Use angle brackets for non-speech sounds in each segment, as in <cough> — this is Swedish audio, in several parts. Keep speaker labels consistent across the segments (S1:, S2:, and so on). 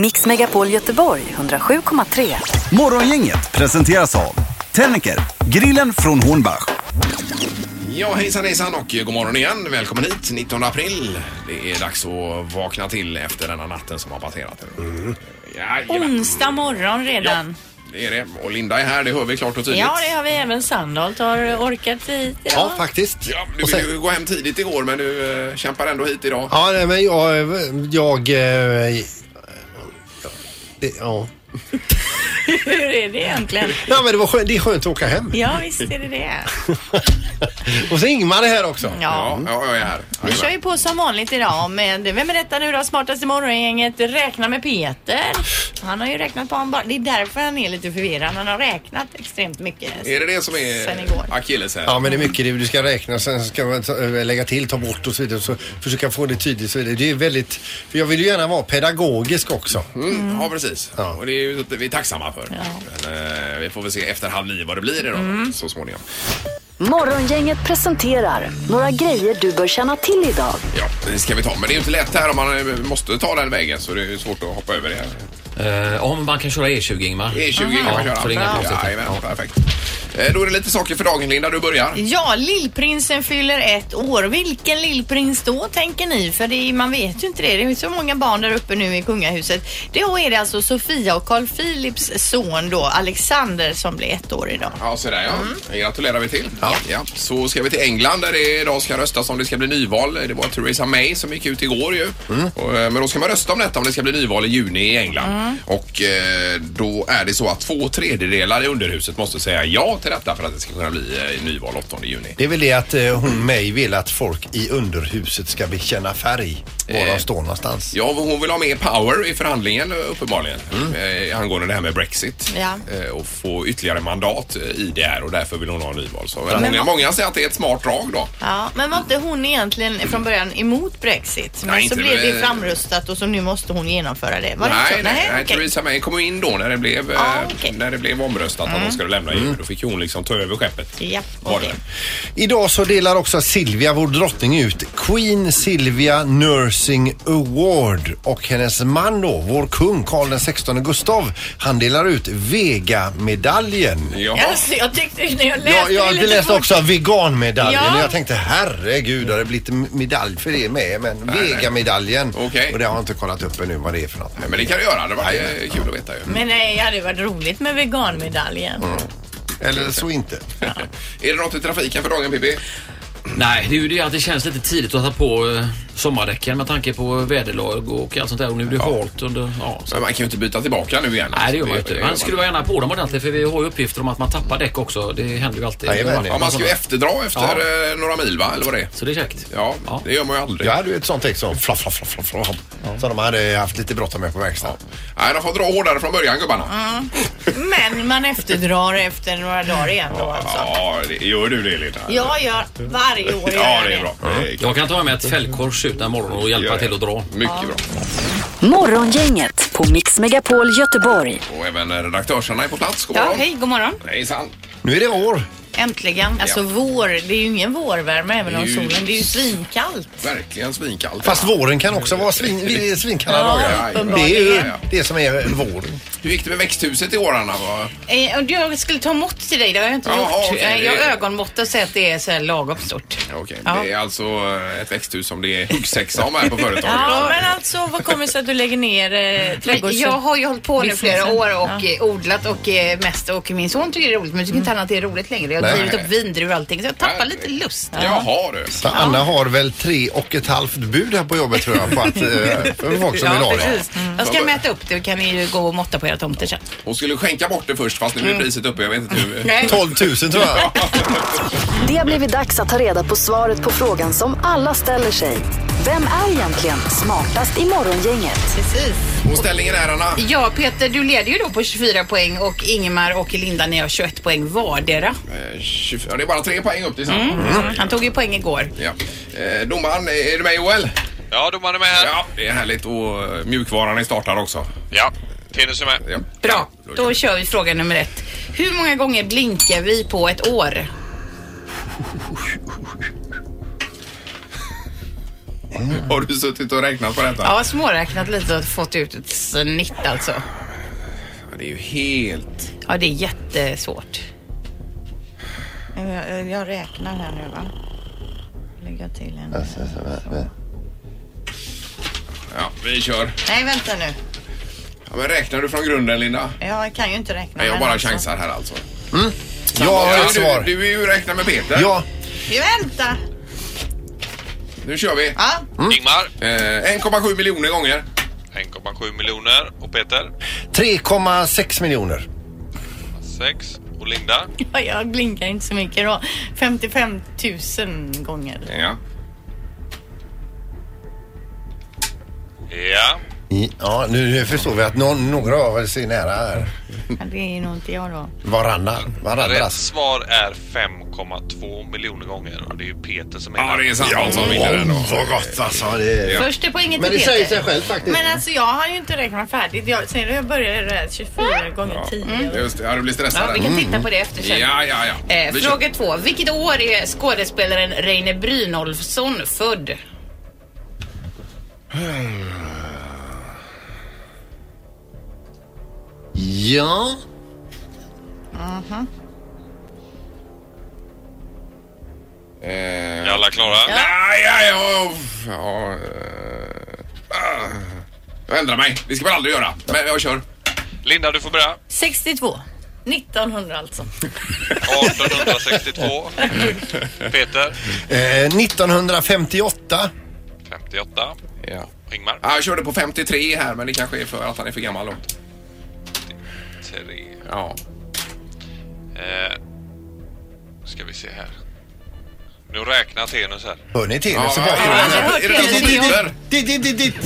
S1: Mix Megapol Göteborg 107,3.
S2: Morgongänget presenteras av Tennicker, grillen från Hornbach.
S3: Ja, hejsan hejsan och god morgon igen. Välkommen hit, 19 april. Det är dags att vakna till efter denna natten som har passerat. Mm. Jajamän,
S4: Onsdag morgon redan.
S3: det är det. Och Linda är här, det hör vi klart och
S4: Ja,
S3: tydligt.
S4: det har vi. Även Sandholt har orkat hit. Ja.
S5: Ja, faktiskt.
S3: Ja, du
S5: Och sen-
S3: ville ju gå hem tidigt igår men du eh, kämpar ändå hit idag.
S5: ja nej, men jag... jag eh, det, ja.
S4: Hur är det egentligen?
S5: ja, men det, var skönt, det är skönt att åka hem.
S4: Ja, visst är det <laughs> det.
S5: Och så Ingmar är här också.
S4: Ja.
S3: Ja, ja jag är här.
S4: Vi
S3: Jajamän.
S4: kör ju på som vanligt idag med Vem är detta nu då? Smartaste morgongänget räkna med Peter. Han har ju räknat på honom bara. Det är därför han är lite förvirrad. Han har räknat extremt mycket.
S3: Är det det som
S4: Sen
S3: är
S4: igår.
S3: akilles här?
S5: Ja, men det är mycket det du ska räkna, sen ska man ta, eh, lägga till, ta bort och så vidare. Så försöka få det tydligt. Så vidare. Det är väldigt, för jag vill ju gärna vara pedagogisk också.
S3: Mm, ja, precis.
S5: Ja.
S3: Och det är ju, vi är tacksamma för. Men, eh, vi får väl se efter halv nio vad det blir idag
S4: Mm.
S3: så småningom.
S1: Morgongänget presenterar några grejer du bör känna till idag.
S3: Ja, det ska vi ta. Men det är ju inte lätt här om man eh, måste ta den vägen så det är ju svårt att hoppa över det här.
S6: Eh, om man kan köra E20 Ingmar.
S3: E20 E kan man
S6: Ja,
S3: köra.
S6: för det är inga
S3: ja,
S6: konstigheter.
S3: jajamän, perfekt. Eh, Då är det lite saker för dagen Linda, du börjar.
S4: Ja, Lillprinsen fyller ett år. Vilken Lillprins då tänker ni? För det, är- man vet ju inte det. Det är ju så många barn där uppe nu i kungahuset. Då är det alltså Sofia och Carl Philips son då, Alexander, som blir ett år idag.
S3: Ja, så där ja.
S6: Mm.
S3: Det gratulerar vi till. Ja. Så ska vi till England där det idag ska röstas om det ska bli nyval. Det var Theresa May som gick ut igår ju.
S6: Mm.
S3: Och, eh, men då ska man rösta om detta om det ska bli nyval i juni i England.
S6: Mm.
S3: Och eh, då är det så att två tredjedelar i underhuset måste säga ja till detta för att det ska kunna bli eh, nyval 8 juni.
S5: Det är väl det att eh, hon mig vill att folk i underhuset ska bekänna färg var
S3: Eh.
S5: de står någonstans.
S3: Ja, hon vill ha mer power i förhandlingen eh, uppenbarligen eh, angående det här med Brexit
S4: Ja.
S3: eh, och få ytterligare mandat eh, i det här och därför vill hon ha nyval. Så, men
S4: Men
S3: många,
S4: vad-
S3: många säger att det är ett smart drag då.
S4: Ja, men var inte hon egentligen från början emot Brexit? Men
S3: Nej,
S4: så
S3: inte
S4: blev
S3: det.
S4: det framröstat och så nu måste hon genomföra det. Var det
S3: nej,
S4: inte så?
S3: nej, nej
S4: okej.
S3: Theresa May kom ju in då när det blev, eh,
S4: Ah, okej.
S3: när det blev omröstat att de skulle lämna EU. Då fick ju hon liksom ta över skeppet.
S4: Ja,
S3: Var
S4: okej.
S5: Idag så delar också Silvia, vår drottning, ut Queen Silvia Nursing Award. Och hennes man då, vår kung Carl den 16 Gustav, han delar ut Vega-medaljen.
S3: det. Jaha.
S4: Alltså, jag tyckte när jag läste
S5: Jag, jag
S4: lite
S5: läste
S4: fort-
S5: också veganmedaljen
S4: Ja.
S5: och jag tänkte herregud har det blivit en medalj för det med men vegamedaljen
S3: Okej.
S5: och det har jag inte kollat upp ännu vad det är för något.
S3: Men det kan du göra. Det var eh, kul att veta ju.
S4: Men nej, det hade varit roligt med veganmedaljen.
S5: Eller så inte.
S3: <laughs> Är det något i trafiken för dagen Pippi?
S6: Nej, det är ju det att det känns lite tidigt att ta på eh, sommardäcken med tanke på väderlag och allt sånt där. Och nu blir det halt under... Ja, så.
S3: Men man kan ju inte byta tillbaka nu igen.
S6: Nej, det gör man ju
S3: Det
S6: inte.
S3: gör
S6: Man skulle vara gärna på dem ordentligt för vi har ju uppgifter om att man tappar däck också. Det händer ju alltid.
S5: Jajamän.
S3: Ja, man ska ju efterdra efter
S6: Ja.
S3: eh, några mil va? Eller vad det är?
S6: Så det är käckt.
S3: Ja,
S6: Ja.
S3: det gör man ju aldrig.
S5: Jag hade ju ett sånt ex som flaff, flaff, flaff, flaff, flaff, som de hade haft lite bråttom med på verkstaden.
S3: Nej, de får dra hårdare från början gubbarna.
S4: Men man efterdrar efter några dagar igen då alltså.
S3: Ja, det, gör du det Linda?
S4: Jag gör varje år. gör
S3: Ja,
S4: jag
S3: det är bra. Det är
S6: Jag kan ta med ett fällkors ut den morgonen och hjälpa
S3: Gör det.
S6: till att dra.
S3: Mycket bra.
S1: Morgongänget på Mix Megapol Göteborg.
S3: Och även redaktörsarna är på plats. God
S4: Ja,
S3: morgon.
S4: hej, god morgon.
S3: Hejsan.
S5: Nu är det år.
S4: Äntligen. Alltså vår, det är ju ingen vårvärme
S3: Det
S4: även
S3: är
S4: om
S3: ju-
S4: solen. Det är ju svinkallt.
S3: Verkligen svinkallt.
S5: Fast våren kan också vara svin, svinkalla
S4: Ja,
S5: dagar. Det är ju
S4: uppenbarligen.
S5: det som är våren.
S3: Hur gick det med växthuset i år Anna? Vad-
S4: Eh, och jag skulle ta mått till dig, det har jag inte
S3: Jaha,
S4: gjort.
S3: okej,
S4: Eh,
S3: det-
S4: jag har ögonmått och sett att det är så här lagom stort.
S3: Okej,
S4: Ja.
S3: det är alltså eh, ett växthus som det är huggsexa om här på företaget.
S4: Ja, men alltså vad kommer det sig att du lägger ner eh, trädgårds...
S7: Jag har ju hållit på nu
S4: Businessen.
S7: flera år och eh, odlat och eh, mest och min son tycker det är roligt men tycker inte
S4: Mm.
S7: han att det är roligt längre. Jag
S5: Nej.
S7: har drivit upp vindruvor och allting så jag tappar lite lust.
S3: Jaha du.
S5: Så Anna har väl tre och ett halvt bud här på jobbet tror jag på att, eh, för folk som vill
S7: Ja,
S5: ha det.
S7: precis. Jag ska mäta upp det och kan ni ju gå och måtta på era tomter sen.
S3: Hon skulle skänka bort det först fast nu
S4: Mm.
S3: är priset uppe. Jag vet inte hur.
S5: 12 000 tror jag.
S1: Det har blivit dags att ta reda på svaret på frågan som alla ställer sig. Vem är egentligen smartast i morgongänget?
S7: Precis.
S3: Och ställningen är Anna?
S7: Ja Peter, du leder ju då på 24 poäng och Ingmar och Linda ni har 21 poäng vardera.
S3: Eh, 24. Ja, det är bara tre poäng upp till samma.
S4: Mm.
S7: Han tog ju poäng igår.
S3: Ja. Eh, domaren, är du med Joel?
S8: Ja, domaren är med här.
S3: Ja, det är härligt och eh, mjukvaran är startad också.
S8: Ja, Tenus är med.
S3: Ja.
S7: Bra,
S3: Då kör
S7: då
S3: vi.
S7: kör vi fråga nummer ett. Hur många gånger blinkar vi på ett år?
S3: Har du suttit och räknat på detta?
S7: Jag har småräknat lite och fått ut ett snitt alltså.
S3: Det är ju helt...
S7: Ja, det är jättesvårt.
S4: Jag, jag räknar här nu va. Lägga till en.
S3: Alltså. Ja, vi kör.
S4: Nej, vänta nu.
S3: Ja, men räknar du från grunden, Linda?
S4: Jag kan ju inte räkna.
S3: Nej, jag
S4: men
S3: bara
S4: alltså.
S3: chansar här alltså.
S5: Jag har ett
S3: du,
S5: svar.
S3: du är ju räkna med Peter.
S5: Ja,
S4: Vi väntar.
S3: Nu kör vi.
S4: Ja,
S8: Ingmar,
S3: Eh, 1,7 miljoner gånger.
S8: 1,7 miljoner. Och Peter,
S5: 3,6 miljoner.
S8: 6. Och Linda,
S4: Ja, jag blinkar inte så mycket då. 55 000 gånger.
S3: Ja.
S8: ja.
S5: Ja, nu nu förstår vi att någon, några av oss är nära här.
S4: Ja, det är nog inte jag då.
S5: Varannan.
S8: Rätt
S5: Varandras.
S8: svar är 5,2 miljoner gånger. Och det är ju Peter som är
S3: ja, det är sant. Ja, som vinner den
S5: Åh,
S3: då.
S5: vad gott alltså. Det...
S7: Först är poängen
S5: Men det
S7: till
S5: säger
S7: Peter.
S5: sig själv faktiskt.
S4: Men alltså jag har ju inte räknat färdigt. Jag, sen jag började där 24 gånger 10.
S3: Just det, ja, du blir stressad.
S7: Ja,
S3: där.
S7: vi kan titta på det efter sen.
S3: Ja, ja, ja.
S7: Eh,
S3: Vi
S7: fråga två. Vilket år är skådespelaren Reine Brynolfsson född?
S5: Ja.
S3: kör. Eh,
S8: Är alla klara?
S3: Nej, ja, ja, uff, ja, eh, ah. Jag ändrar mig. Det ska man aldrig göra. Men jag kör.
S8: Linda, du får börja.
S4: 62. 1900 alltså.
S3: <laughs>
S8: 1862. Peter,
S5: Eh, 1958.
S8: 58.
S3: Ja.
S8: Och Ingmar,
S3: Ja, jag körde på 53 här, men det kanske är för att han är för gammal då.
S8: 3.
S3: Ja.
S8: Eh, ska vi se här. Nu räknar Tenus här.
S5: Hör ni till
S3: Ja,
S5: oss i
S3: ja,
S5: bakgrunden?
S3: ja, ja.
S4: hört
S3: Är
S4: det.
S3: det du som driver?
S5: Dit, dit, dit, dit.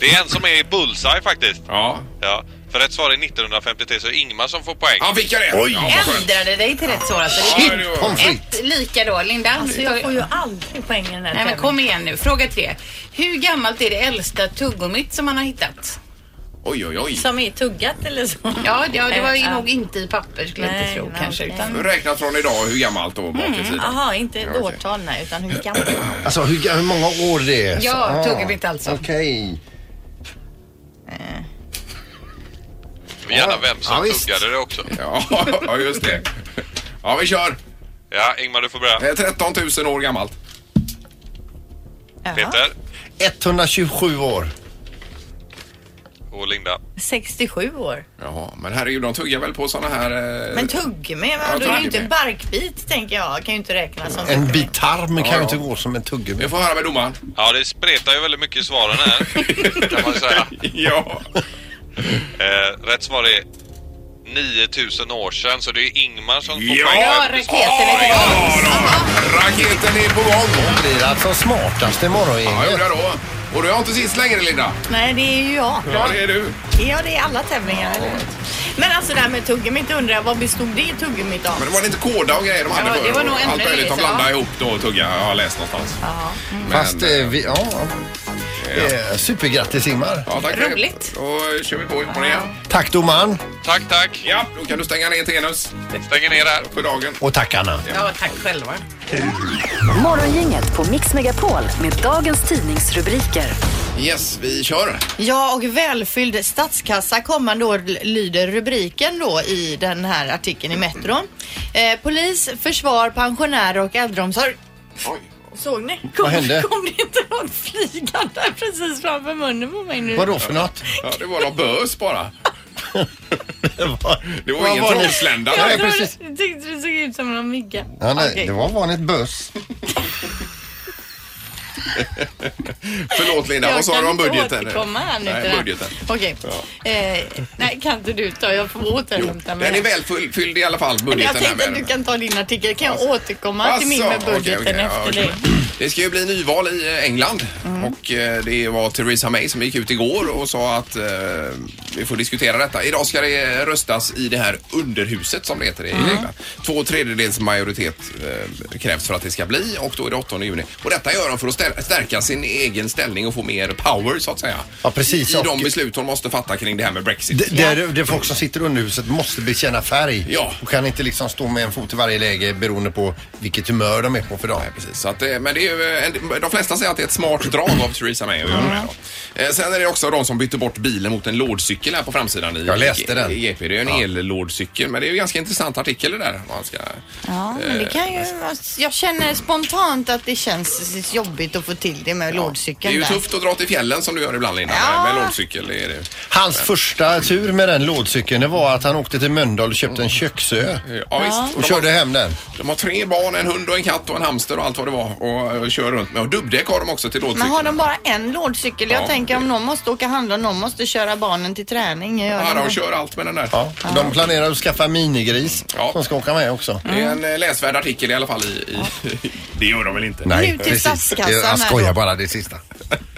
S8: Det är en som är i bullseye faktiskt.
S3: Ja.
S8: Ja, för rätt svar är 1953 så är Ingmar som får poäng.
S3: Ja, fick jag det?
S5: Oj.
S3: Ja, vad skönt.
S7: Ändrade dig till rätt svar alltså. Det
S3: Ja,
S7: är
S3: det var-
S5: Pommes frites.
S7: ett lika då. Linda?
S4: Alltså jag får ju aldrig poäng i den här
S7: Nej men
S4: tävlingen.
S7: kom igen nu. Fråga tre. Hur gammalt är det äldsta tuggummit som man har hittat?
S3: Oj, oj, oj.
S4: Som är tuggat eller så.
S7: Ja, det, ja, det var ju
S4: Eh,
S7: nog inte i papper skulle jag inte
S4: Nej,
S7: tro
S4: nej,
S7: kanske.
S4: okej.
S7: Utan,
S3: Nu räknar från idag hur gammalt då bakåt i tiden.
S4: Jaha, inte ett
S3: okej.
S4: årtal nej, utan hur gammal.
S5: Alltså hur, ga- hur många år det är?
S7: Ja,
S5: Ah,
S7: tuggummit alltså.
S5: Okej.
S8: Och Gärna vem som
S5: Ja, visst.
S8: tuggade det också.
S3: Ja, ja, just det. Ja, vi kör.
S8: Ja, Ingmar du får
S3: Det
S8: börja.
S3: är 13 000 år gammalt.
S8: Peter
S5: 127 år.
S8: och Linda.
S4: 67 år.
S3: Jaha, men herregud, de tuggar väl på sådana här... Eh...
S4: Men tugg med,
S3: Ja,
S4: då är det
S3: tuggummi.
S4: ju inte barkbit tänker jag. Kan ju inte räknas som
S5: En
S4: tuggummi.
S5: bit tarm kan ju
S3: ja.
S5: inte gå som en tuggummi.
S3: Vi får höra med domaren.
S8: Ja, det spretar ju väldigt mycket i svaren här. kan man säga.
S3: Ja.
S8: Eh, rätt svar är 9000 år sedan, så det är Ingmar som får
S3: Ja,
S8: poäng.
S7: ja, raketen är igång.
S3: Ja, då. Raketen är på gång.
S5: Det blir alltså smartaste
S3: Ja, jag
S5: morgongänget.
S3: gjorde jag då. Och du har inte sist längre, Linda.
S4: Nej, det är ju jag.
S3: Ja, det är du.
S4: Ja, det är alla tävlingar. eller? Men alltså det här med tuggummit undrar jag, vad bestod det tuggummit av?
S3: Men det var lite koda och grejer de hade
S7: Ja, det
S3: förr.
S7: var nog ännu
S3: Allt möjligt.
S7: lite,
S3: De blandade
S7: va?
S3: ihop då och tugga. Jag har läst någonstans. Men,
S5: Fast eh,
S3: eh,
S5: vi, ja. Eh, supergrattis Ingmar.
S3: Ja, tack för det.
S7: roligt.
S3: Då kör vi på imorgon igen.
S5: Tack domaren
S8: Tack, tack.
S3: Ja, då kan du stänga ner Tenus
S8: Stänger ner där.
S3: för dagen.
S5: och tack Anna.
S7: Ja, tack själva.
S1: Morgongänget på Mix Megapol med dagens tidningsrubriker.
S3: Yes, vi kör.
S4: Ja, och välfylld statskassa kommande år l- lyder rubriken då i den här artikeln i Metro. Eh, polis, försvar, pensionärer och äldreomsorg.
S3: Oj.
S4: Såg ni? Kom,
S5: Vad hände?
S4: Kom det inte något flygande precis framför munnen på mig nu?
S5: Vadå för något?
S3: Ja, det var någon bös bara. <laughs> Det var
S5: Vad
S3: ingen
S5: var det?
S3: trollslända.
S5: Ja,
S4: Jag
S5: Nej,
S4: trodde-
S5: precis.
S4: tyckte det såg ut som en mygga.
S5: Ja, nej,
S4: Okej.
S5: Det var vanligt buss.
S3: Förlåt Linda, vad
S4: Jag
S3: sa du
S4: kan
S3: om
S4: inte
S3: budgeten?
S4: återkomma här nu till
S3: Nej,
S4: det.
S3: budgeten.
S4: Okej. Eh, nej, kan inte du ta? Jag får återhämta mig.
S3: Den är välfylld i alla fall,
S4: Men
S3: budgeten.
S4: jag
S3: här
S4: tänkte
S3: med
S4: att du
S3: den.
S4: kan ta din artikel. Kan jag återkomma till min med
S3: Alltså, okej,
S4: budgeten
S3: okej, ja,
S4: efter Mm.
S3: okej.
S4: dig?
S3: Det ska ju bli nyval i eh, England och eh, det var Theresa May som gick ut igår och sa att eh, vi får diskutera detta. Idag ska det eh, röstas i det här underhuset som det heter i
S4: Mm.
S3: England. Två tredjedels majoritet eh, krävs för att det ska bli och då är det 8 juni. Och detta gör de för att stä- stärka sin egen ställning och få mer power så att säga.
S5: Ja, precis.
S3: I de
S5: Och-
S3: beslut de måste fatta kring det här med Brexit.
S5: Det, det, är, det är folk som sitter under huset måste bekänna färg.
S3: Ja.
S5: Och kan inte liksom stå med en fot i varje läge beroende på vilket humör de är på för dagen.
S3: Precis, så att det, men det ju, eh, en, de flesta säger att det är ett smart drag av Theresa May att göra det. Då.
S5: Mm.
S3: Eh, Sen är det också de som bytte bort bilen mot en lådcykel här på framsidan i, E
S5: Jag läste den.
S3: i GP. Det är ju en ellådcykel, men det är ju en ganska intressant artikel det där. Man ska,
S4: Ja, men det kan ju...
S3: Eh.
S4: Jag känner spontant att det känns jobbigt att få till det med
S3: det är
S4: lådcykeln
S3: ju
S4: där.
S3: tufft att dra till fjällen som du gör ibland Linda,
S4: Ja.
S3: med, med lådcykel. Det är det.
S5: Hans första tur med den lådcykeln det var att han åkte till Mölndal och köpte en köksö.
S3: Mm. Ja, visst. De har-
S5: Och körde hem den.
S3: De har tre barn, en hund och en katt och en hamster och allt vad det var och, och kör runt med. Och dubbdäck har de också till
S4: Men
S3: lådcykeln.
S4: har de bara en lådcykel? Jag
S3: Ja,
S4: tänker om
S3: det-
S4: någon måste åka och handla och någon måste köra barnen till träning. Gör
S3: Ja,
S4: de
S3: de
S4: det?
S3: kör allt med den där.
S5: Ja. De planerar att skaffa minigris
S3: Ja.
S5: som ska åka med också.
S3: Det är en eh, läsvärd artikel i alla fall. I, i, <laughs> det gör de väl inte?
S4: Nej, Nu till precis. statskassan Jag här
S5: Jag
S4: då. skojar
S5: skojar bara det sista.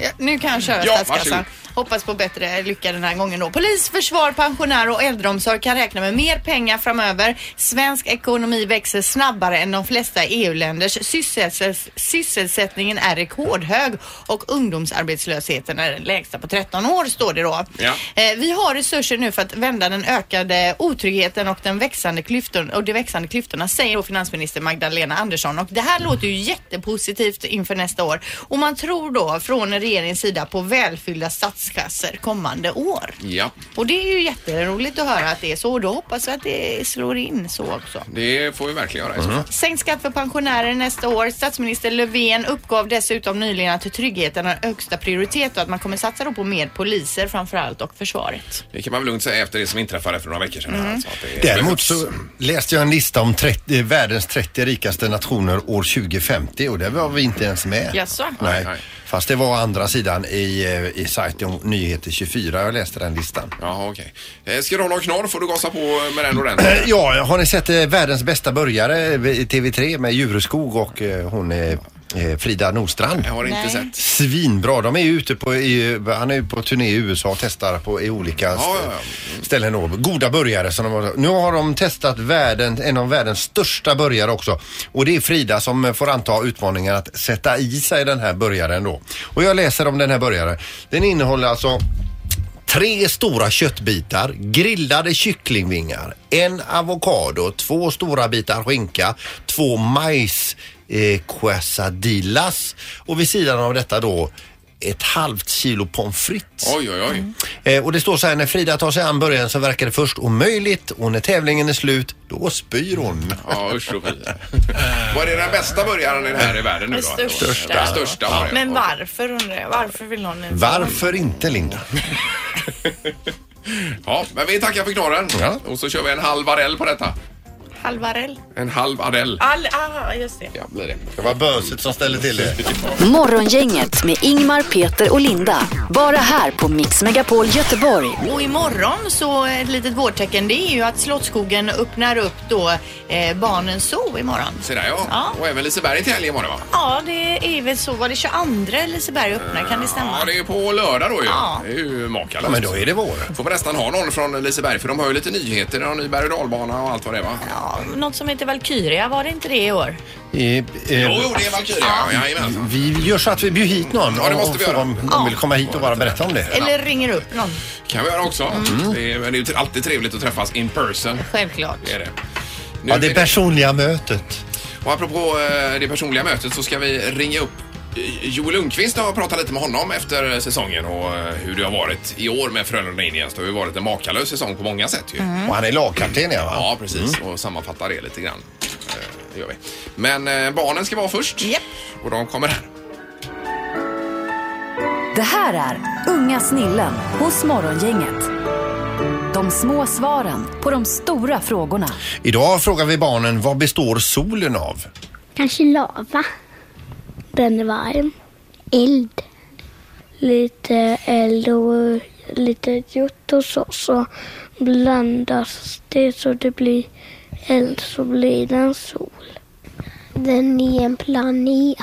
S4: Ja, nu kan jag köra
S3: Ja,
S4: statskassan.
S3: varsågod.
S4: Hoppas på bättre lycka den här gången då. Polis, försvar, pensionärer och äldreomsorg kan räkna med mer pengar framöver. Svensk ekonomi växer snabbare än de flesta EU-länders. Sysselsätt- Sysselsättningen är rekordhög och ungdomsarbetslösheten är den lägsta på 13 år står det då.
S3: Ja.
S4: Eh, Vi har resurser nu för att vända den ökade otryggheten och, den växande klyftorn, och de växande klyftorna säger då finansminister Magdalena Andersson. Och det här låter ju jättepositivt inför nästa år. Och man tror då från regeringens sida på välfyllda statskassor kommande år.
S3: Ja.
S4: Och det är ju jätteroligt att höra att det är så och då hoppas jag att det slår in så också.
S3: Det får vi verkligen göra. i så
S5: Mm.
S3: fall.
S4: Sänkt skatt för pensionärer nästa år. Statsminister Löfven uppgav dessutom nyligen att tryggheten har högsta prioritet och att man kommer satsa då på mer poliser framförallt och försvaret.
S3: Det kan man väl lugnt säga efter det som inträffade för några veckor sedan. Alltså, att det
S5: Mm. Däremot
S3: behövs.
S5: så läste jag en lista om 30, eh, världens 30 rikaste nationer år 2050 och där var vi inte ens med.
S4: Jaså?
S5: Nej.
S3: Nej, nej.
S5: Fast det var å andra sidan i, eh, i sajten Nyheter 24. Jag läste den listan.
S3: Jaha, okej. Eh, Ska du ha någon knorr får du gasa på med den ordentligt.
S5: Ja, har ni sett eh, Världens bästa eh, börjare i TV3 med Jureskog och eh, hon är eh, Frida Nordstrand?
S3: Jag har inte
S4: Nej.
S3: sett.
S5: Svinbra. De är ju ute på, i, han är ju på turné i USA och testar på, i olika
S3: ja, ja.
S5: st- ställen. Då. Goda börjare. Som de, har- nu har de testat världen, en av världens största börjare också. Och det är Frida som eh, får anta utmaningen att sätta i sig den här börjaren då. Och jag läser om den här börjaren. Den innehåller alltså Tre stora köttbitar, grillade kycklingvingar, en avokado, två stora bitar skinka, två majs eh, quesadillas och vid sidan av detta då ett halvt kilo pommes frites.
S3: Oj, oj,
S4: Mm.
S3: oj.
S5: Eh, och det står så här, när Frida tar sig an början så verkar det först omöjligt och när tävlingen är slut, då spyr hon.
S3: Ja, usch och fy. Var det den bästa börjaren i den här i världen nu då?
S4: Den största.
S3: Den största var det.
S4: Men varför undrar jag? Varför vill hon en
S5: Varför inte Linda?
S3: Ja, men vi tackar för knorren.
S5: Ja.
S3: Och så kör vi en halv Arell på detta.
S4: halvarell?
S3: En halv Arell.
S7: All, ah, just det.
S3: Ja, blir det.
S5: Det var böset som ställde till det.
S1: Morgongänget med Ingmar, Peter och Linda. Bara här på Mix Megapol Göteborg.
S4: Och imorgon så ett litet vårtecken det är ju att Slottsskogen öppnar upp då eh, Barnens zoo imorgon.
S3: Se där ja.
S4: Ja.
S3: Och även Liseberg till helg imorgon va?
S4: Ja, det är väl så. Var det 22 Liseberg öppnar? Kan det
S3: Ja,
S4: stämma?
S3: det är ju på lördag då ju.
S4: Ja.
S3: Det är ju makalöst.
S5: Ja, men då är det vår.
S3: Får vi nästan ha någon från Liseberg för de har ju lite nyheter. De har ny berg och dalbana och allt vad det är va?
S4: Ja, något som heter Valkyria, var det inte det i år?
S5: Eh, eh,
S3: Jo, jo, det är Valkyria. Ja. Jajamensan.
S5: vi gör så att vi bjuder hit någon
S3: Ja, det måste
S5: och
S3: vi
S5: frågar
S3: göra.
S5: om de vill komma hit och bara berätta om det.
S4: Eller ringer upp någon,
S3: kan vi göra också. Det, är, men det är ju alltid trevligt att träffas in person.
S4: självklart.
S3: Det är det. Nu
S5: Ja, det
S3: är det-
S5: personliga mötet.
S3: Och apropå eh, det personliga mötet så ska vi ringa upp eh, Joel Lundqvist och prata lite med honom efter säsongen och eh, hur det har varit i år med Frölunda Indians. Det har ju varit en makalös säsong på många sätt ju.
S5: Och han är lagkapten, ja, va?
S3: Ja, precis. Och sammanfatta det lite grann. Eh, Det gör vi. Men eh, barnen ska vara först.
S4: Japp.
S3: Och de kommer här.
S1: Det här är Unga snillen hos Morgongänget. De små svaren på de stora frågorna.
S5: Idag frågar vi barnen vad består solen av?
S9: Kanske lava. Bränner varm. Eld. Lite eld och lite gjort och så, så blandas det så det blir eld så blir den sol. Den är en planet.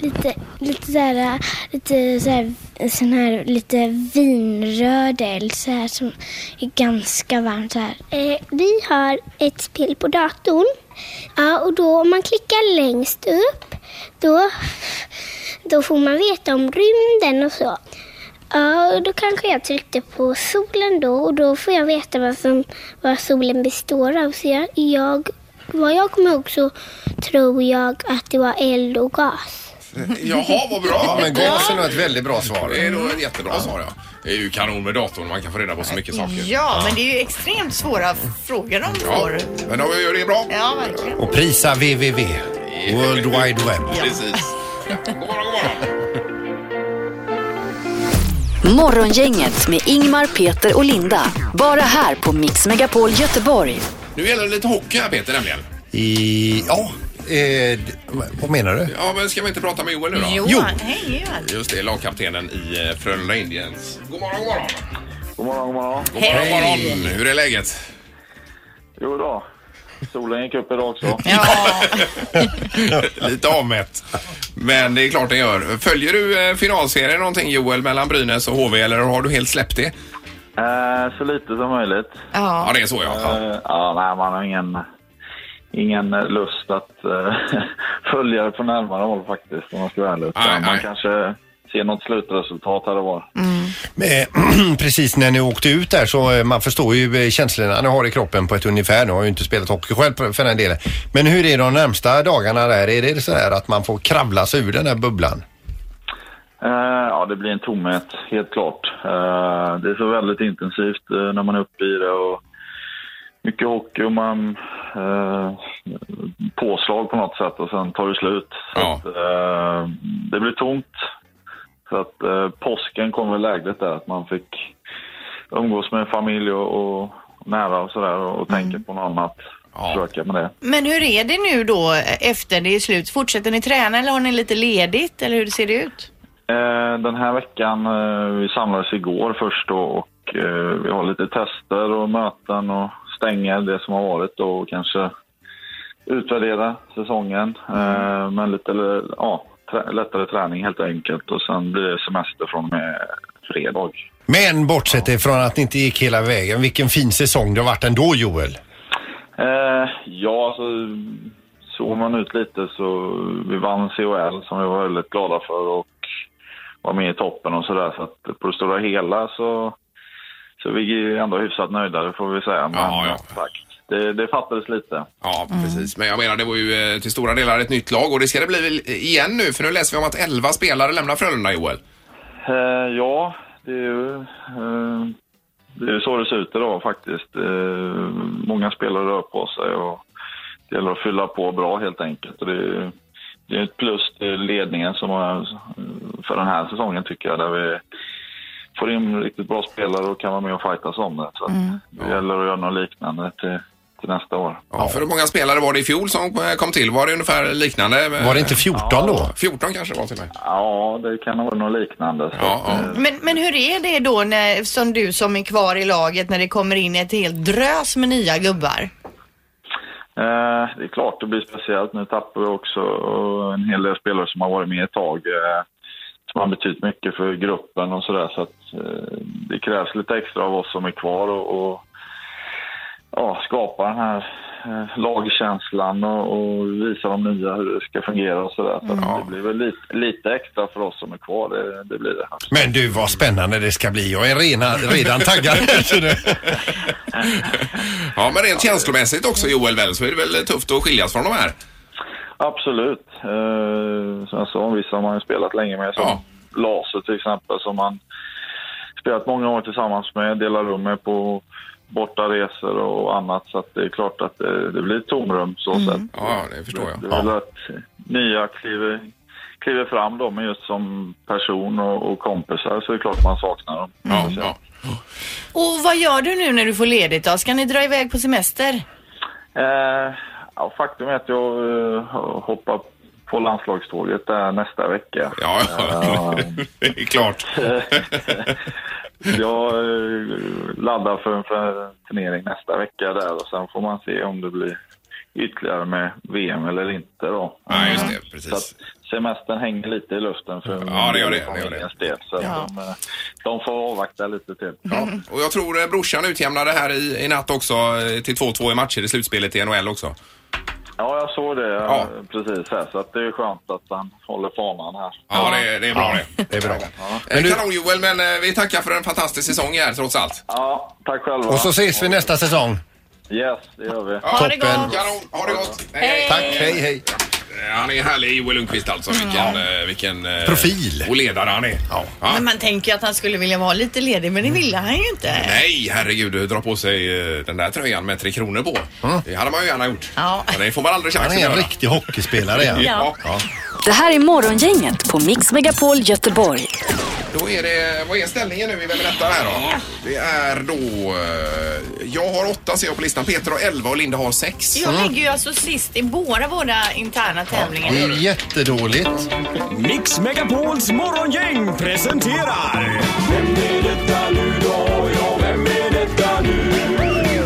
S9: Lite, lite så här, lite så här, sån här lite vinröd eld så här som är ganska varm så här. Eh, vi har ett spel på datorn. Ja, och då om man klickar längst upp då, då får man veta om rymden och så. Ja, och då kanske jag tryckte på solen då och då får jag veta vad, som, vad solen består av. Så jag, jag vad jag kommer ihåg så tror jag att det var eld och gas.
S3: Jaha, vad bra.
S5: Ja, men gas är nog ett väldigt bra svar.
S3: Det är nog ett jättebra svar ja. Det är ju kanon med datorn, man kan få reda på så mycket saker.
S4: Ja, men det är ju extremt svåra frågor de
S3: Ja,
S4: får.
S3: men då gör det bra.
S4: Ja, verkligen.
S5: Och prisa www. World Wide Web.
S3: Precis. Ja, God morgon, god morgon.
S1: Morgongänget med Ingmar, Peter och Linda. Bara här på Mix Megapol Göteborg.
S3: Nu gäller det lite hockey här Peter nämligen.
S5: I, ja, eh, vad menar du?
S3: Ja, men ska vi inte prata med Joel nu då?
S4: Jo,
S5: Jo.
S4: han hänger ju här.
S3: Just det, lagkaptenen i eh, Frölunda Indians. God morgon, god morgon.
S10: God morgon, god morgon.
S3: God morgon, god morgon. Hur är läget?
S10: Jo då. Solen gick upp idag också.
S4: Ja,
S3: Lite avmätt. Men det är klart den gör. Följer du eh, finalserien någonting Joel mellan Brynäs och HV eller har du helt släppt det?
S10: Eh, så lite som möjligt.
S3: Ja,
S4: ja.
S3: det är så ja.
S10: Eh, ja, nej, man har ingen, ingen eh, lust att eh, följa det på närmare håll faktiskt om man ska vara ärlig. Utan
S3: Nej,
S10: man
S3: nej.
S10: kanske ser något slutresultat här och var.
S5: Eh, <clears throat> Precis när ni åkte ut där så eh, man förstår ju eh, känslorna ni har i kroppen på ett ungefär. Ni har ju inte spelat hockey själv på- för den delen. Men hur är de närmsta dagarna där? Är det så här att man får kravla sig ur den här bubblan?
S10: Eh, ja, det blir en tomhet, helt klart. Eh, det är så väldigt intensivt eh, när man är uppe i det. Och mycket hockey och man, eh, påslag på något sätt och sen tar det slut. Så
S3: Ja.
S10: att, eh, det blir tomt. Så att eh, påsken kom väl lägligt där, att man fick umgås med familj och, och nära och sådär och, och tänka på något annat.
S3: Mm. Ja.
S10: Försöka med det.
S4: Men hur är det nu då efter det är slut? Fortsätter ni träna eller har ni lite ledigt eller hur ser det ut?
S10: Eh, Den här veckan, eh, vi samlades igår först då och eh, vi har lite tester och möten och stänger det som har varit då och kanske utvärdera säsongen eh, med lite eh, ja, trä- lättare träning helt enkelt och sen blir det semester från och med fredag.
S5: Men bortsett ifrån att ni inte gick hela vägen, vilken fin säsong det har varit ändå Joel.
S10: Eh, ja, alltså, såg man ut lite så vi vann CHL som vi var väldigt glada för och var med i toppen och sådär. Så att på det stora hela så, så vi är ju ändå hyfsat nöjda, det får vi säga. Men
S3: Ja, ja.
S10: Sagt, det, det fattades lite.
S3: Ja, precis. Men jag menar, det var ju eh, till stora delar ett nytt lag och det ska det bli väl igen nu för nu läser vi om att 11 spelare lämnar Frölunda, Joel.
S10: Eh, ja, det är ju... Eh, det är ju så det ser ut idag faktiskt. Eh, många spelare rör på sig och det gäller att fylla på bra helt enkelt. Och det, är, det är ett plus till ledningen som har, eh, för den här säsongen tycker jag, där vi får in riktigt bra spelare och kan vara med och fightas om det. Så att det gäller att göra något liknande till, till nästa år.
S3: Ja, för hur många spelare var det i fjol som eh, kom till? Var det ungefär liknande?
S5: Var det inte 14 då?
S3: 14 kanske det var till mig.
S10: Ja, det kan vara något liknande. Så
S3: Ja,
S10: att,
S3: ja.
S10: eh,
S4: Men, men hur är det då när, som du som är kvar i laget när det kommer in ett helt drös med nya gubbar?
S10: Eh, Det är klart det blir speciellt. Nu tappar vi också eh, en hel del spelare som har varit med ett tag. eh, Som har betytt mycket för gruppen och sådär. Så att eh, det krävs lite extra av oss som är kvar och, och ja, skapa den här eh, lagkänslan och, och visa de nya hur det ska fungera och sådär. Så att det blir väl lite, lite extra för oss som är kvar. Det, det blir det.
S5: Men du vad spännande det ska bli. Jag är rena, redan <laughs> taggad. Så det-
S3: Ja, men rent känslomässigt också Joel väl så är det väl tufft att skiljas från de här?
S10: Absolut. Eh, Som jag sa, vissa har man ju spelat länge med. Som
S3: Ja.
S10: Laser till exempel, som man spelat många år tillsammans med, delar rum med på bortaresor och annat. Så att det är klart att det, det blir ett tomrum så
S3: Mm.
S10: sätt.
S3: Ja, det förstår
S10: Det
S3: jag.
S10: är väl att nya kliver, kliver fram då, men just som person och, och kompisar så är det klart man saknar dem.
S3: Ja, ja.
S4: Och vad gör du nu när du får ledigt då? Ska ni dra iväg på semester?
S10: Eh, ja, faktum är att jag eh, hoppar på landslagståget där nästa vecka.
S3: Ja, ja. <laughs> det är klart.
S10: Jag eh, laddar för en för en turnering nästa vecka där och sen får man se om det blir ytterligare med VM eller inte då.
S3: Ja, just det.
S10: Så att
S3: Precis.
S10: semestern hänger lite i luften för
S3: Ja, det gör det, det gör det.
S10: familjens del. Så att de, eh, de får avvakta lite till.
S3: Och jag tror eh, brorsan utjämnade här i, i natt också eh, till 2-2 i matcher i slutspelet i NHL också.
S10: Ja, jag såg det
S3: Ja.
S10: eh, precis här så att det är skönt att han håller fanan här.
S3: Ja, det, det är bra det.
S5: Det är bra.
S3: Eh, Kanon Joel, men eh, vi tackar för en fantastisk säsong här trots allt.
S10: Ja, tack själva.
S5: Och så ses vi nästa säsong.
S10: Yes, det gör vi.
S3: Ja, ha det Toppen. gott. Kanon, ha det gott. Hej, hej. Tack, hej,
S5: hej.
S3: Han är härlig, Joel Lundqvist alltså. Vilken, eh, vilken eh,
S5: Profil.
S3: Och ledare han är. Ja.
S4: Men man tänker ju att han skulle vilja vara lite ledig, men det ville han ju inte.
S3: Mm. Nej, herregud. Dra på sig eh, den där tröjan med Tre Kronor på. Det hade man ju gärna gjort.
S4: Ja.
S3: Men det får man aldrig chansen
S5: Han är en riktig hockeyspelare. är han.
S3: Ja.
S1: Det här är Morgongänget på Mix Megapol Göteborg.
S3: Då är det, vad är ställningen nu i Vem är detta här då? Det är då, eh, jag har åtta ser jag på listan, Peter har elva och Linda har sex.
S4: Jag ligger ju alltså sist i båda våra interna tävlingar.
S5: Det är jättedåligt.
S11: Mix Megapols morgongäng presenterar... Vem är detta nu då? Ja, vem är detta nu?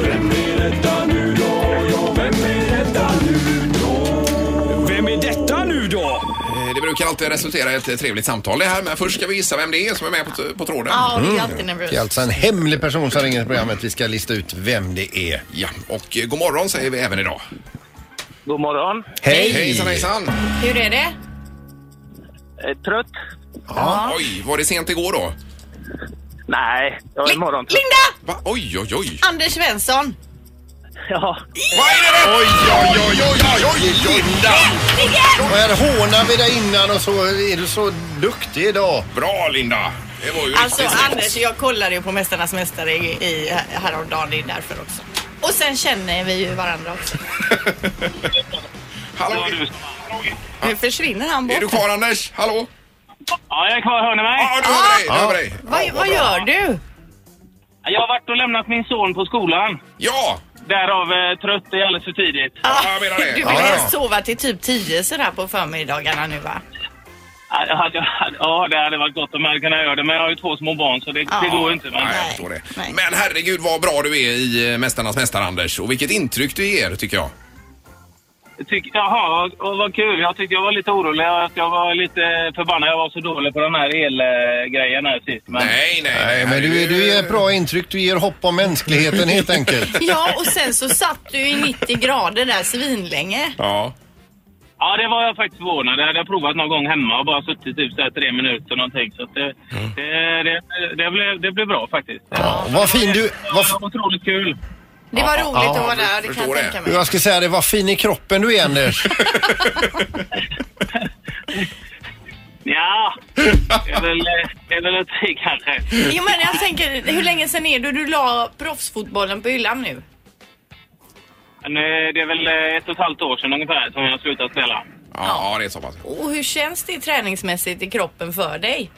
S11: Vem är detta nu då? Ja, vem är detta nu då? Vem är detta nu då?
S3: Eh, Det brukar alltid resultera i ett trevligt samtal det här men först ska vi gissa vem det är som är med på, på tråden.
S4: Ja, det är alltid
S5: Det är
S4: nervöst.
S5: alltså en hemlig person som ringer till programmet. Vi ska lista ut vem det är.
S3: Ja, och eh, god morgon säger vi även idag.
S12: God morgon.
S5: Hej!
S3: Hejsan hejsan!
S4: Hur är det?
S12: Är trött?
S3: Ja. Oj, var det sent igår då?
S12: Nej, jag är morgontrött.
S4: Linda!
S3: Va? Oj, oj, oj!
S4: Anders Svensson!
S12: Ja.
S3: Vad är det där? Oj, oj, oj, oj, oj, oj, Linda!
S5: Och här hånar vi dig innan och så är du så duktig idag.
S3: Bra Linda! Det var ju
S4: Alltså
S3: riktigt snyggt.
S4: Anders, jag kollade ju på Mästarnas Mästare i, i, häromdagen, det är därför också. Och sen känner vi ju varandra också.
S3: Hallå!
S4: Nu försvinner han bort.
S3: Är du kvar Anders? Hallå?
S12: Ja, jag är kvar. Hör ni mig?
S3: Ja, du hör dig, du hör dig.
S4: Vad, vad gör du?
S12: Jag har varit och lämnat min son på skolan.
S3: Ja!
S12: Därav eh, trött, det är alldeles för tidigt.
S3: Ja, jag menar det.
S4: Du vill
S3: Ja, ja.
S4: helst sova till typ 10 sådär på förmiddagarna nu va?
S12: Ja, jag hade- jag hade- Ja, det hade varit gott om jag hade kunnat göra det, men jag har ju två små barn så det, det
S4: Ja.
S12: går inte. Men...
S3: Nej, jag
S4: Nej,
S3: förstår det.
S4: nej.
S3: Men herregud vad bra du är i eh, Mästarnas Mästare Anders och vilket intryck du ger tycker jag.
S12: Jag tycker- Jaha, vad- vad, vad kul. Jag tyckte jag var lite orolig. Jag, jag var lite förbannad. Jag var så dålig på den här elgrejen här sist. Men...
S3: Nej, nej,
S5: Nej, men du, du ger bra intryck. Du ger hopp om mänskligheten helt enkelt. <laughs>
S4: Ja, och sen så satt du i 90 grader där svinlänge.
S3: Ja.
S12: Ja, det var jag faktiskt förvånad. Det hade jag provat någon gång hemma och bara suttit typ så här tre minuter någonting. Så att det, det, det, det, blev, det blev bra faktiskt.
S5: Ja, vad fin du... Vad,
S12: Det var otroligt kul.
S4: Det var roligt att vara där, det kan
S3: förstår
S4: jag
S3: det.
S4: tänka mig.
S5: jag ska säga det, vad fin i kroppen du
S4: <laughs>
S5: är Anders.
S12: Ja, det är väl, det är väl att det <laughs> kanske.
S4: Jo men jag tänker, hur länge sen är det du la proffsfotbollen på hyllan nu?
S12: Men, eh, Det är väl eh, ett och ett halvt år sedan ungefär som jag slutade spela.
S3: Ja, det är så pass.
S4: Och hur känns det träningsmässigt i kroppen för dig?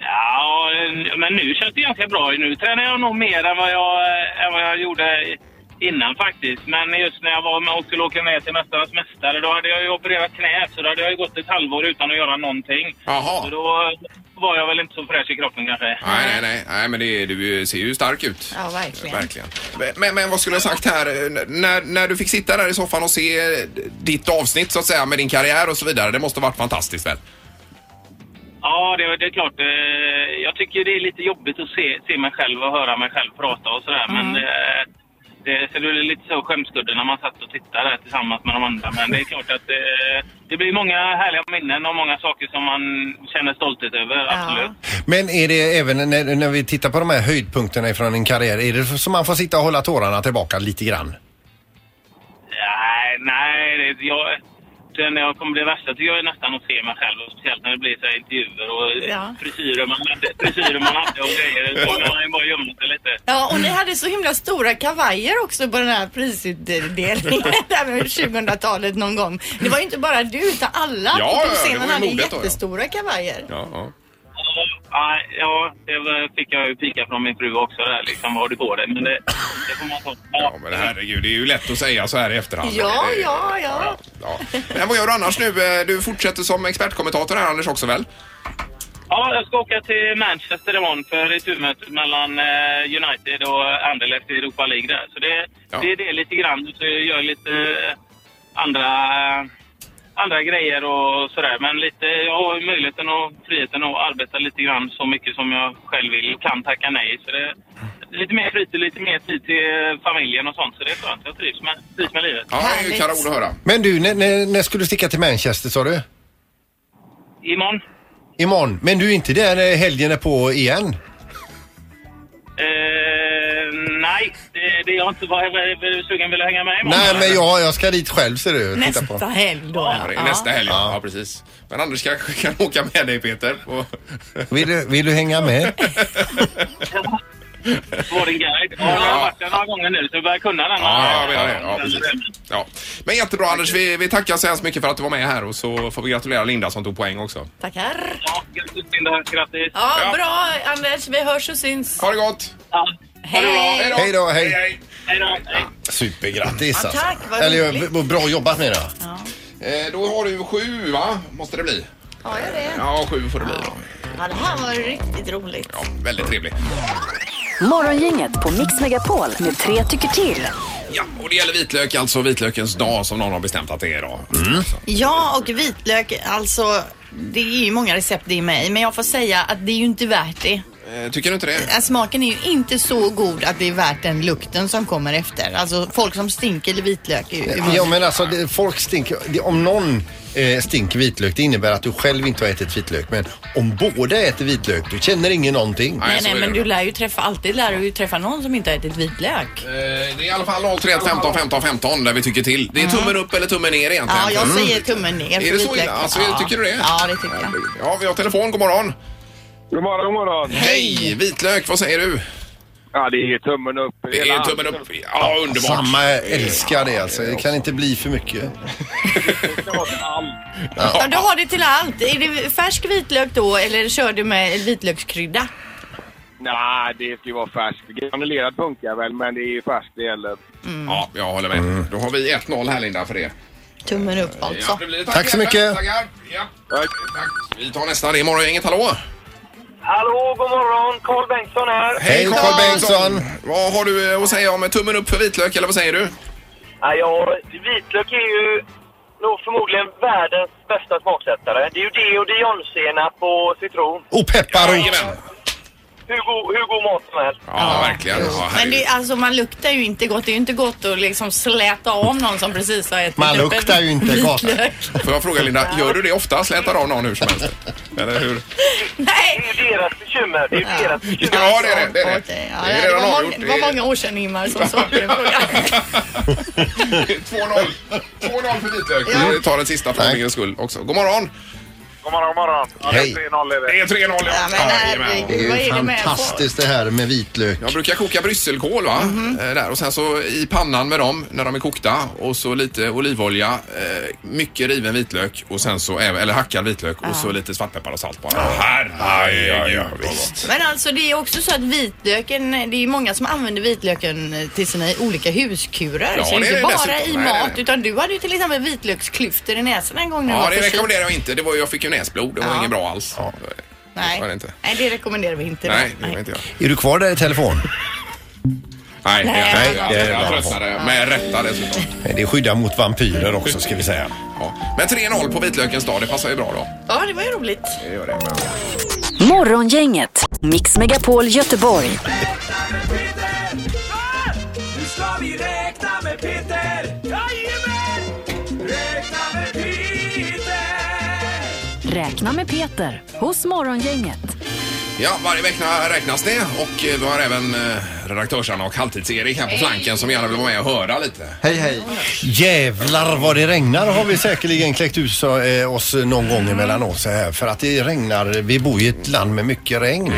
S12: Ja, eh, men nu känns det ganska bra. Nu tränar jag nog mer än vad jag, eh, än vad jag gjorde innan faktiskt. Men just när jag var med och skulle åka ner till Mästarnas Mästare, då hade jag ju opererat knät. Så då hade jag ju gått ett halvår utan att göra någonting. Så
S3: Jaha.
S12: då var jag väl inte så fräsch i kroppen kanske.
S3: Nej, nej, nej, nej, men det, du ser ju stark ut.
S4: Ja, verkligen.
S3: Verkligen. Men, men vad skulle jag sagt här, eh, när, när du fick sitta där i soffan och se eh, ditt avsnitt så att säga med din karriär och så vidare, det måste ha varit fantastiskt väl?
S12: Ja, det, det är klart. eh, Jag tycker det är lite jobbigt att se, se mig själv och höra mig själv prata och sådär. Men eh, det, så det är lite så skämskudde när man satt och tittade där tillsammans med de andra. Men det är klart att eh, det blir många härliga minnen och många saker som man känner stolthet över. Absolut.
S5: Men är det även när, när vi tittar på de här höjdpunkterna ifrån din karriär, är det så man får sitta och hålla tårarna tillbaka lite grann?
S12: Nej, nej. Det, jag, det, när jag kommer bli värsta tycker jag är nästan att se mig själv. Och speciellt när det blir så här intervjuer och eh,
S4: Ja.
S12: frisyrer man hade, frisyrer man hade och grejer. Så man har ju bara gömt sig lite.
S4: Ja, och ni hade så himla stora kavajer också på den här prisutdelningen
S3: <laughs>
S4: där med 2000-talet någon gång. Det var ju inte bara du utan alla
S3: Ja,
S4: på
S3: ja, det var
S4: scenen
S3: ju
S4: hade
S3: modet då, ja.
S4: jättestora kavajer.
S3: Ja, ja.
S12: Ja, ja, det var- fick jag ju pika från min fru också där liksom. Vad har du på dig? Men det, det får man ta. Ja,
S3: Ja, men herregud, det är ju lätt att säga så här i efterhand.
S4: Ja,
S3: Det-
S4: ja, ja.
S3: ja. Men vad gör du annars nu? Eh, Du fortsätter som expertkommentator här Anders också väl?
S12: ja, jag ska åka till Manchester imorgon för returmötet mellan eh, United och Anderlecht i Europa League där. Så det,
S3: Ja.
S12: det är det lite grann. Så jag gör lite eh, andra, eh, andra grejer och sådär. Men lite, jag har ju möjligheten och friheten att arbeta lite grann så mycket som jag själv vill och kan tacka nej. Så det, Lite mer fritid, lite mer tid till familjen och sånt. Så det är skönt. Jag trivs med, trivs med livet.
S3: Ja, det är ju
S4: Härligt.
S3: kanon att höra.
S5: Men du, när, när, när skulle du sticka till Manchester sa du?
S12: Imorgon?
S5: Imorgon. Men du är inte där eh, helgen är på igen?
S12: Eh, nej, det, det är jag inte. Vad är sugen? Vill du hänga med imorgon?
S5: Nej, men jag, jag ska dit själv ser du. Titta på.
S4: Nästa helg då.
S3: Ja, det är nästa helg, ja. ja precis. Men Anders kanske kan <laughs> åka med dig Peter. Och...
S5: Vill du, vill du hänga med?
S12: Var din guide. Ja, jag har varit där några gånger nu så du börjar kunna den.
S3: Ja, jag menar det. Ja, precis. Ja. Men jättebra Anders, vi, vi tackar så hemskt mycket för att du var med här och så får vi gratulera Linda som tog poäng också.
S4: Tackar.
S12: Ja, grattis Linda. Grattis.
S4: Ja, bra Anders. Vi hörs och syns.
S3: Ha det gott.
S4: Hej.
S5: Hej då, hej.
S12: Hej då. Hej.
S5: Supergrattis
S4: Ja, tack, vad
S5: Eller
S4: roligt.
S5: vad bra jobbat med det.
S3: Eh, då har du sju va? Måste det bli?
S4: Har jag det?
S3: Ja, sju får det bli då.
S4: Ja, det här var riktigt roligt.
S3: Ja, väldigt trevligt.
S1: Morgongänget på Mix Megapol med tre tycker till.
S3: Ja, och det gäller vitlök, alltså vitlökens dag som någon har bestämt att det är idag.
S4: Ja, och vitlök, alltså det är ju många recept det är med i, men jag får säga att det är ju inte värt det.
S3: Eh, tycker du inte det?
S4: Äh, Smaken är ju inte så god att det är värt den lukten som kommer efter. Alltså folk som stinker i vitlök är ju...
S5: Ja men alltså det, folk stinker, det, om någon eh, stinker vitlök det innebär att du själv inte har ätit vitlök. Men om båda äter vitlök då känner ingen någonting.
S4: Nej, nej, men du lär ju träffa, alltid lär du ju träffa någon som inte har ätit vitlök.
S3: Eh, Det är i alla fall 031 15 15 15 där vi tycker till. Det är tummen upp eller tummen ner egentligen.
S4: Mm. Ja, jag
S3: Mm.
S4: säger tummen ner för
S3: Är det så
S4: vitlök.
S3: illa? Alltså,
S4: ja.
S3: tycker du det?
S4: Ja, det tycker jag.
S3: Ja, vi har telefon. God morgon.
S13: God morgon, god morgon.
S3: Hej! Vitlök, vad säger du?
S13: Ja, det är tummen upp.
S3: Det är tummen upp. Ja, underbart.
S5: Samma jag älskar det alltså. Det kan inte bli för mycket.
S4: Ja, du har det till allt. Är det färsk vitlök då eller kör du med vitlökskrydda?
S13: Nej, det ska ju vara färskt. Granulerad funkar väl, men det är ju färskt det gäller.
S3: <laughs> Ja, jag håller med. Då har vi 1-0 här Linda för det.
S4: Tummen upp alltså.
S3: det blir det.
S5: Tack så mycket.
S3: Tackar. Ja. Tack. Vi tar nästa. Det är Morgongänget. Hallå!
S12: Hallå, god morgon. Carl Bengtsson här.
S5: Hej Carl Bengtsson!
S3: Vad har du eh, att säga om tummen upp för vitlök eller vad säger du?
S12: Ja, ja, vitlök är ju nog förmodligen världens bästa smaksättare. Det är ju det och dijonsenap och citron.
S5: Och peppar och...
S12: Hur god, hur god mat som helst.
S3: Ja, verkligen. Ja,
S4: Men
S3: herregud.
S4: det, alltså man luktar ju inte gott. Det är ju inte gott att liksom släta av någon som precis har ätit
S3: Man
S4: upp en
S3: luktar ju inte gott.
S4: vitlök. <laughs>
S3: Får jag fråga Linda, gör du det ofta? Slätar av någon hur som helst? Eller hur?
S4: Nej!
S12: Det är ju deras bekymmer. Det är ju deras bekymmer.
S3: Ja, det är det. Det är det.
S4: Ja,
S3: Det är
S4: det,
S3: redan
S4: var
S3: avgjort.
S4: många, det var många år sedan
S3: <laughs>
S4: Ingmar som sa det.
S3: 2-0. 2-0 för vitlök.
S12: Ja.
S3: Vi tar den sista för ordningens skull också. God morgon!
S13: God morgon, god morgon. Ja, det
S5: Hej.
S13: är 3-0 är det.
S3: Det är 3-0 ja.
S5: Det
S3: eh,
S5: är ju fantastiskt det här med vitlök.
S3: Jag brukar koka brysselkål va?
S4: Mhm.
S3: Eh, Där. Och sen så i pannan med dem när de är kokta och så lite olivolja, eh, mycket riven vitlök och sen så, även- eller hackad vitlök och så lite svartpeppar och salt bara. Herregud! visst.
S4: Men alltså det är också så att vitlöken, det är ju många som använder vitlöken till sina olika huskurer.
S3: Ja,
S4: så det är
S3: det
S4: inte
S3: är det
S4: bara
S3: dessutom. Nej,
S4: i
S3: nej,
S4: mat
S3: nej.
S4: utan du hade ju till exempel vitlöksklyftor i näsan en gång när du
S3: Ja,
S4: var
S3: det
S4: förkyld.
S3: rekommenderar jag inte. Det var, ju- jag fick ju näsblod. Det var
S4: Ja.
S3: inget bra alls. Det var det
S4: Nej.
S3: inte.
S4: nej, det rekommenderar vi inte.
S3: Nej, det var inte jag.
S5: Är du kvar där i telefon?
S3: Nej, jag, jag,
S4: Nej.
S5: Nej, det är
S3: jag, jag
S5: bra.
S3: tröttnade med rätta dessutom.
S5: Nej, Det är skydda mot vampyrer också ska vi säga.
S3: Ja. Men 3-0 på vitlökens dag, det passar ju bra då.
S4: Ja, det var ju roligt.
S3: Det gör det.
S1: Morgongänget, Mix Megapol Göteborg.
S11: Nu ska vi räkna med Peter! Jajamän! Räkna med Peter!
S1: Räkna med Peter hos Morgongänget.
S3: Ja, varje vecka räknas det och eh, vi har även eh, redaktörsarna och halvtids-Erik här på flanken som gärna vill vara med och höra lite.
S5: Hej hej. Jävlar vad det regnar har vi säkerligen kläckt ut så, eh, oss någon gång emellan oss här. För att det regnar, vi bor i ett land med mycket regn.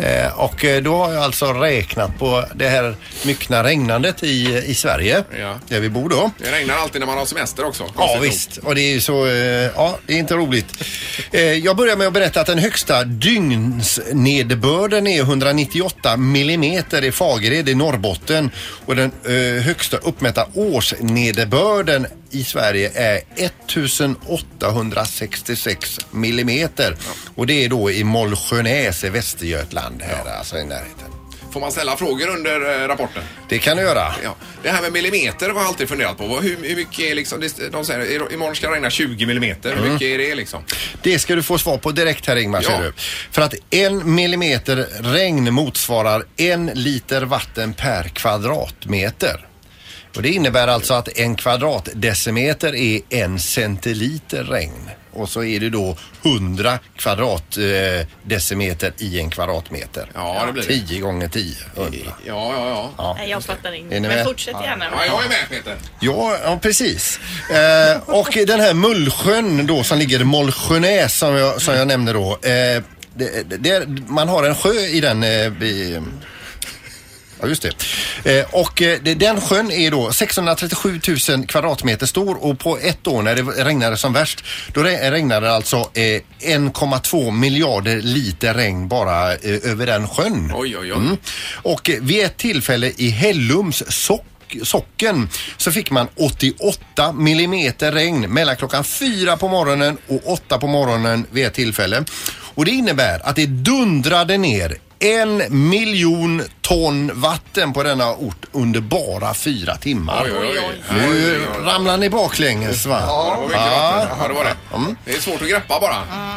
S5: Eh, och eh, då har jag alltså räknat på det här myckna regnandet i, i Sverige.
S3: Ja.
S5: Där vi bor då.
S3: Det regnar alltid när man har semester också.
S5: Ja visst, och det är ju så, eh, ja det är inte roligt. Eh, jag börjar med att berätta att den högsta dygnsnederbörden är 198 millimeter i Fagered i Norrbotten och den eh, högsta uppmätta årsnederbörden i Sverige är 1866 millimeter och det är då i Mollsjönäs i Västergötland här alltså i närheten.
S3: Får man ställa frågor under eh, rapporten?
S5: Det kan du göra.
S3: Ja. Det här med millimeter har jag alltid funderat på. Vad- Hur, hur mycket är liksom, det- de säger i- imorgon ska det regna 20 millimeter. Hur
S5: Mm.
S3: mycket är det liksom?
S5: Det ska du få svar på direkt här Ingmar ser du. För att en millimeter regn motsvarar en liter vatten per kvadratmeter. Och det innebär alltså att en kvadratdecimeter är en centiliter regn. och så är det då 100 kvadratdecimeter eh, decimeter i en kvadratmeter.
S3: Ja, det blir det.
S5: 10 gånger 10, 100.
S3: Ja, ja, ja.
S5: Ja.
S4: Nej, jag fattar inte.
S5: Är ni
S4: Men
S5: med?
S4: fortsätt gärna.
S3: Ja, jag är med Peter.
S5: Ja, ja precis. Eh, och den här Mullsjön då som ligger i Mollsjönäs som jag, som jag nämnde då. Eh, det, det, man har en sjö i den eh, bi- Ja, just det. Eh, och eh, det- den sjön är då 637 000 kvadratmeter stor och på ett år när det regnade som värst, då re- regnade det alltså eh, 1,2 miljarder liter regn bara eh, över den sjön.
S3: Oj, oj, oj.
S5: Mm. Och eh, vid ett tillfälle i Hellums sock socken så fick man 88 millimeter regn mellan klockan 4 på morgonen och 8 på morgonen vid ett tillfälle. Och det innebär att det dundrade ner en miljon ton vatten på denna ort under bara fyra timmar.
S3: Oj, oj, oj.
S5: Nu ramlar ni baklänges va?
S3: Ja, det var mycket vatten. Ja, det var det.
S5: Mm.
S3: Det är svårt att greppa bara.